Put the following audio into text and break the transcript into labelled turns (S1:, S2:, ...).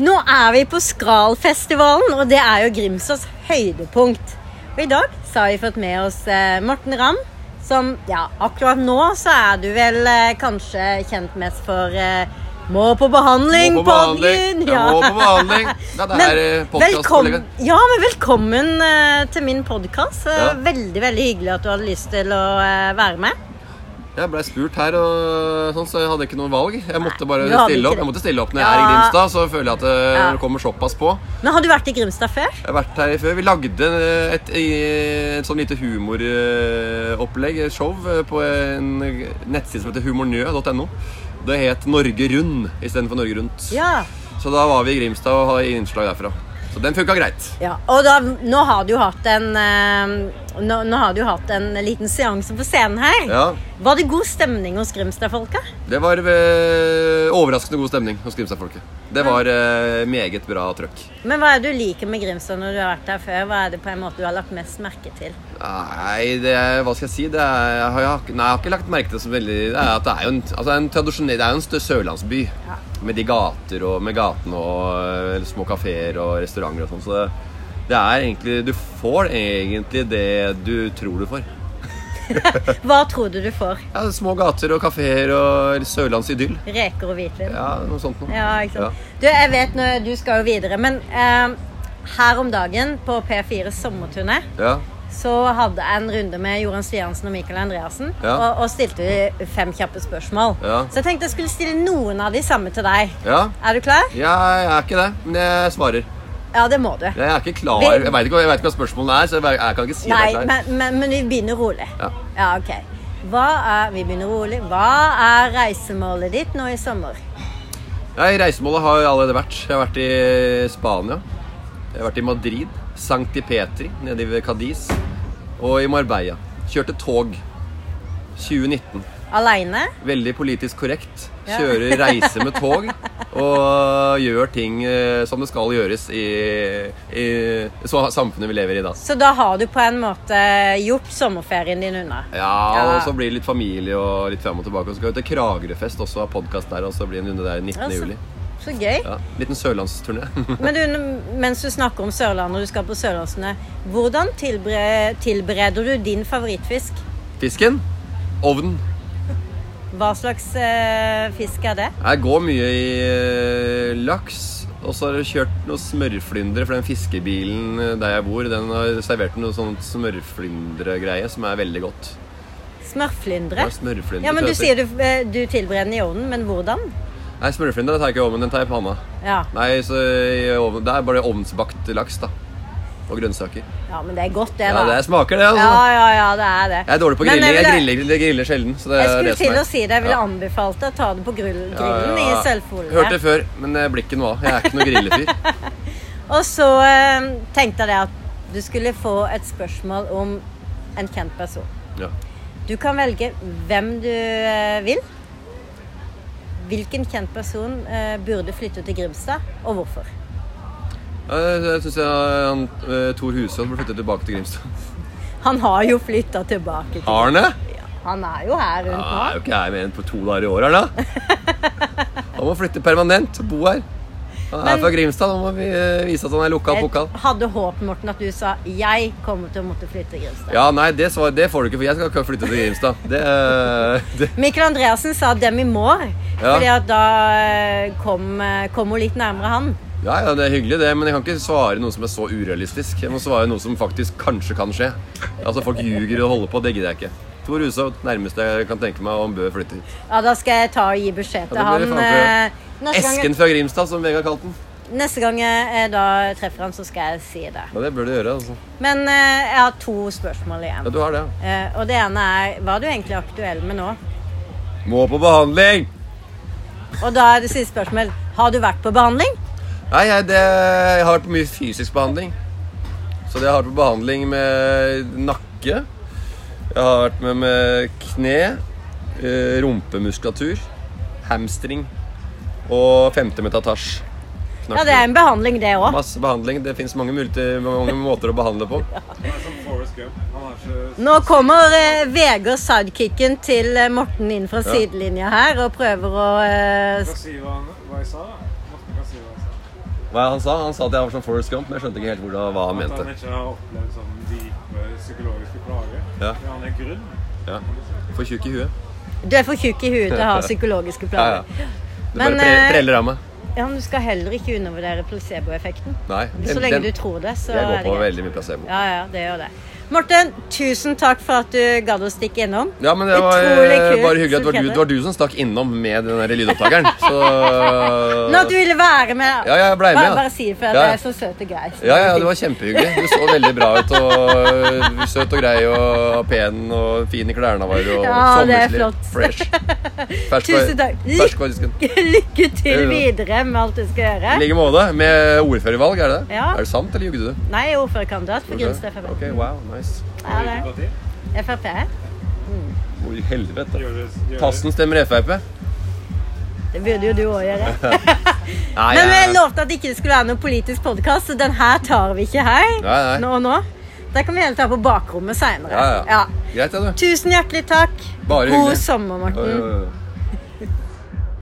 S1: Nå er vi på Skralfestivalen, og det er jo Grimsås høydepunkt. Og i dag så har vi fått med oss eh, Morten Ramm, som ja, akkurat nå så er du vel eh, kanskje kjent mest for eh, Må på behandling,
S2: Må på behandling.
S1: podden!
S2: Ja, må på behandling. Ja, det
S1: Men
S2: er, eh, podcast-
S1: velkom- Ja, men velkommen eh, til min podkast.
S2: Ja.
S1: Veldig, veldig hyggelig at du hadde lyst til å eh, være med.
S2: Jeg ble spurt her, og sånn, så jeg hadde ikke noe valg. Jeg måtte bare
S1: du hadde ikke
S2: stille opp.
S1: det.
S2: Jeg måtte stille opp når
S1: Ja.
S2: jeg er i Grimstad, så føler jeg at eh, det
S1: Ja.
S2: kommer såpass på.
S1: Men har du vært i Grimstad før?
S2: Jeg har vært her før. Vi lagde eh, et, et sånn lite humoropplegg, et show, eh, på en nettside som heter humornø.no. Det het Norge Rund istedenfor Norge Rundt.
S1: Ja.
S2: Så da var vi i Grimstad og hadde innslag derfra. Så den funka greit.
S1: Ja, og da, nå har du jo hatt en eh, nå, nå har du jo hatt en liten seanse på scenen her.
S2: Ja.
S1: Var det god stemning hos Grimstad-folka?
S2: Det var eh, overraskende god stemning hos Grimstad-folket. Det var eh, meget bra trøkk.
S1: Men hva er det du liker med Grimstad når du har vært her før? Hva er det på en måte du har lagt mest merke til?
S2: Nei, det er, hva skal jeg si? Det er, jeg, har, jeg, har, ikke- nei, jeg har ikke lagt merke til det så veldig Det er, at det er jo en, altså en tradisjonell Det er jo en stø- sørlandsby.
S1: Ja.
S2: Med de gater og med gatene og eh, små kafeer og restauranter og sånn. Så det, det er egentlig Du får egentlig det du tror du får.
S1: Hva tror du du får?
S2: Ja, små gater og kafeer og sørlandsidyll.
S1: Reker og hvitvin?
S2: Ja, noe sånt noe.
S1: Ja, ikke sant. Du, jeg vet nå, du skal jo videre, men eh, her om dagen på P4 sommerturné
S2: Ja.
S1: så hadde jeg en runde med Jorunn Stiansen og Michael Andreassen
S2: Ja.
S1: og, og stilte de fem kjappe spørsmål.
S2: Ja.
S1: Så jeg tenkte jeg skulle stille noen av de samme til deg.
S2: ja. ja.
S1: Er du klar?
S2: Jeg er ikke det, men jeg svarer.
S1: Ja, det må du.
S2: Jeg er ikke klar
S1: Vi-
S2: Jeg veit ikke, jeg vet ikke hva spørsmålene er, så jeg, jeg kan ikke si
S1: Nei,
S2: at jeg er klar.
S1: men, men, men vi begynner rolig.
S2: Ja.
S1: ok. Hva er, vi begynner rolig. Hva er reisemålet ditt nå i sommer?
S2: Nei, reisemålet har jeg allerede vært. Jeg har vært i Spania. Jeg har vært i Madrid. Sankti Petri nede ved Cadiz. Og i Marbella. Kjørte tog. 2019.
S1: Aleine?
S2: Veldig politisk korrekt.
S1: Ja.
S2: Kjører reise med tog. Og gjør ting eh, som det skal gjøres i, i så samfunnet vi lever i da.
S1: Så da har du på en måte gjort sommerferien din unna.
S2: Ja,
S1: Ja.
S2: og så blir det litt familie og litt frem og tilbake. Og så skal vi til Kragerøfest også, ha podkast der. Og så blir det en runde der 19.
S1: Ja, så-
S2: juli.
S1: Så gøy.
S2: Ja, liten sørlandsturné.
S1: Men du, mens du snakker om Sørlandet og du skal på Sørlandsene, hvordan tilbre- tilbereder du din favorittfisk?
S2: Fisken? Ovnen.
S1: Hva slags eh, fisk er det?
S2: Jeg går mye i eh, laks. Og så har jeg kjørt noen smørflyndre, for den fiskebilen eh, der jeg bor, den har servert noe sånt smørflyndregreie som er veldig godt.
S1: Smørflyndre?
S2: Ja, smørflyndre
S1: Ja, men du
S2: tøser.
S1: sier du, eh, du tilbereder den i ovnen, men hvordan?
S2: Nei, smørflyndre tar jeg ikke i ovnen, den tar jeg i panna.
S1: Ja.
S2: Nei, så i ovnen, Det er bare ovnsbakt laks, da. Og grønnsaker.
S1: ja, men det er godt, det, da.
S2: Ja, det smaker, det, altså.
S1: Ja, ja, ja, det er det.
S2: Jeg er dårlig på
S1: Men
S2: grilling. Jeg,
S1: ville-
S2: griller, jeg griller sjelden. Så det
S1: Jeg
S2: er
S1: skulle
S2: det som
S1: til
S2: er.
S1: å si det. Jeg ville
S2: Ja.
S1: anbefalt deg å ta det på grill,
S2: Ja, ja,
S1: grillen
S2: ja.
S1: i sølvfolie.
S2: Hørte det før, men det blir ikke noe av. Jeg er ikke noen grillefyr.
S1: Og så eh, tenkte jeg det at du skulle få et spørsmål om en kjent person.
S2: Ja.
S1: Du kan velge hvem du eh, vil. Hvilken kjent person eh, burde flytte til Grimstad, og hvorfor?
S2: Ja, Jeg syns han eh, Thor Hushovd burde flytte tilbake til Grimstad.
S1: Han har jo flytta tilbake. til-
S2: Arne?
S1: Han er jo her
S2: Ja,
S1: rundt nå.
S2: er jo ikke her mer enn på to dager i året, da. Han må flytte permanent. Bo her. Han er
S1: Men-
S2: fra Grimstad. Nå må vi eh, vise at han er lokal pokal.
S1: Jeg hadde håp, Morten, at du sa 'jeg kommer til å måtte flytte til Grimstad'.
S2: Ja, nei, det, svar, det får du ikke, for jeg skal ikke flytte til Grimstad. Det, eh, det.
S1: Michael Andreassen sa dem i mår,
S2: Ja.
S1: fordi at da eh, kom, eh, kom hun litt nærmere han.
S2: Ja, ja, det er hyggelig, det, men jeg kan ikke svare noe som er så urealistisk. Jeg må svare noe som faktisk kanskje kan skje. Altså, Folk ljuger og holder på. Det gidder jeg ikke. Thor Hushovd, nærmeste jeg kan tenke meg om Bø flytter hit.
S1: Ja, da skal jeg ta og gi beskjed til
S2: Ja, det blir
S1: han.
S2: faen
S1: eh, Neste gang,
S2: Esken fra Grimstad, som Vegard kalte den.
S1: neste gang jeg eh, da treffer han, så skal jeg si det.
S2: Ja, det bør du gjøre, altså.
S1: Men eh, jeg har to spørsmål
S2: Ja,
S1: igjen.
S2: du har det, ja.
S1: Eh, og det ene er hva er du egentlig aktuell med nå?
S2: Må på behandling!
S1: Og da er det siste spørsmål har du vært på behandling?
S2: Nei, jeg, det, jeg har vært på mye fysisk behandling. Så det jeg har vært på behandling med nakke. Jeg har vært med med kne, eh, rumpemuskulatur, hamstring og femte metatasj.
S1: Ja, det er en behandling, det òg.
S2: Masse behandling. Det fins mange, multi- mange måter å behandle på.
S3: Som Forrest Gump. Han har ikke
S1: Nå kommer eh, Vegard sidekicken til eh, Morten inn fra sidelinja her og prøver å eh,
S3: Kan si hva han hva jeg sa. da. Morten kan si hva jeg sa.
S2: Hva han sa? Han sa at jeg var som Forrest Gump, men jeg skjønte ikke helt hvordan, hva han
S3: At han
S2: mente.
S3: ikke har opplevd sånn dype psykologiske plager.
S2: Ja.
S3: Men han er grunn.
S2: Ja. For tjukk i huet.
S1: Du er for tjukk i huet til å ha psykologiske
S2: Ja,
S1: planer.
S2: ja.
S1: Men,
S2: Det bare pre
S1: eh,
S2: preller av meg.
S1: Ja, men Du skal heller ikke undervurdere placeboeffekten.
S2: Nei.
S1: Så lenge du tror det, så
S2: jeg
S1: er
S2: går
S1: det
S2: på
S1: greit.
S2: veldig mye placebo.
S1: eh, Ja, ja, det gjør det. Morten, tusen takk for at du gadd å stikke innom.
S2: Ja, men det var
S1: Utrolig
S2: eh,
S1: kult,
S2: bare hyggelig at det var du,
S1: Kjetil.
S2: det var du som stakk innom med den der lydopptakeren. Så
S1: Men at du ville være med.
S2: Ja, ja, jeg ble med,
S1: Bare,
S2: ja.
S1: bare si det, for at
S2: Ja, ja.
S1: jeg er så søt og grei.
S2: Ja, ja, det var kjempehyggelig. Du så veldig bra ut. og eh, Søt og grei og pen og fin i klærne våre. Og
S1: Ja, det er
S2: sommerslig.
S1: flott.
S2: Fresh. Fersk på-
S1: Tusen takk.
S2: Fersk på disken.
S1: Lykke til
S2: Ja, ja.
S1: videre med alt du skal
S2: I
S1: gjøre.
S2: like måte. Med ordførervalg, er det det?
S1: Ja.
S2: Er det sant, eller jugde du?
S1: Nei, jeg er ordførerkandidat for Grimstad Frp.
S2: Ok, wow, nice.
S1: Ja, det er.
S3: Parti.
S1: Frp.
S2: Hvor i helvete?
S3: Gjør det, gjør det.
S2: Tassen stemmer Frp?
S1: Det burde jo du òg gjøre.
S2: Nei,
S1: Men
S2: jeg-
S1: vi lovte at det ikke skulle være noen politisk podkast, så den her tar vi ikke her.
S2: Nei, nei.
S1: Nå og nå. Den kan vi heller ta på bakrommet seinere.
S2: Ja, ja. Greit, det, du.
S1: Tusen hjertelig takk.
S2: Bare
S1: God
S2: hyggelig.
S1: sommer, Morten.
S2: Oi, oi, oi.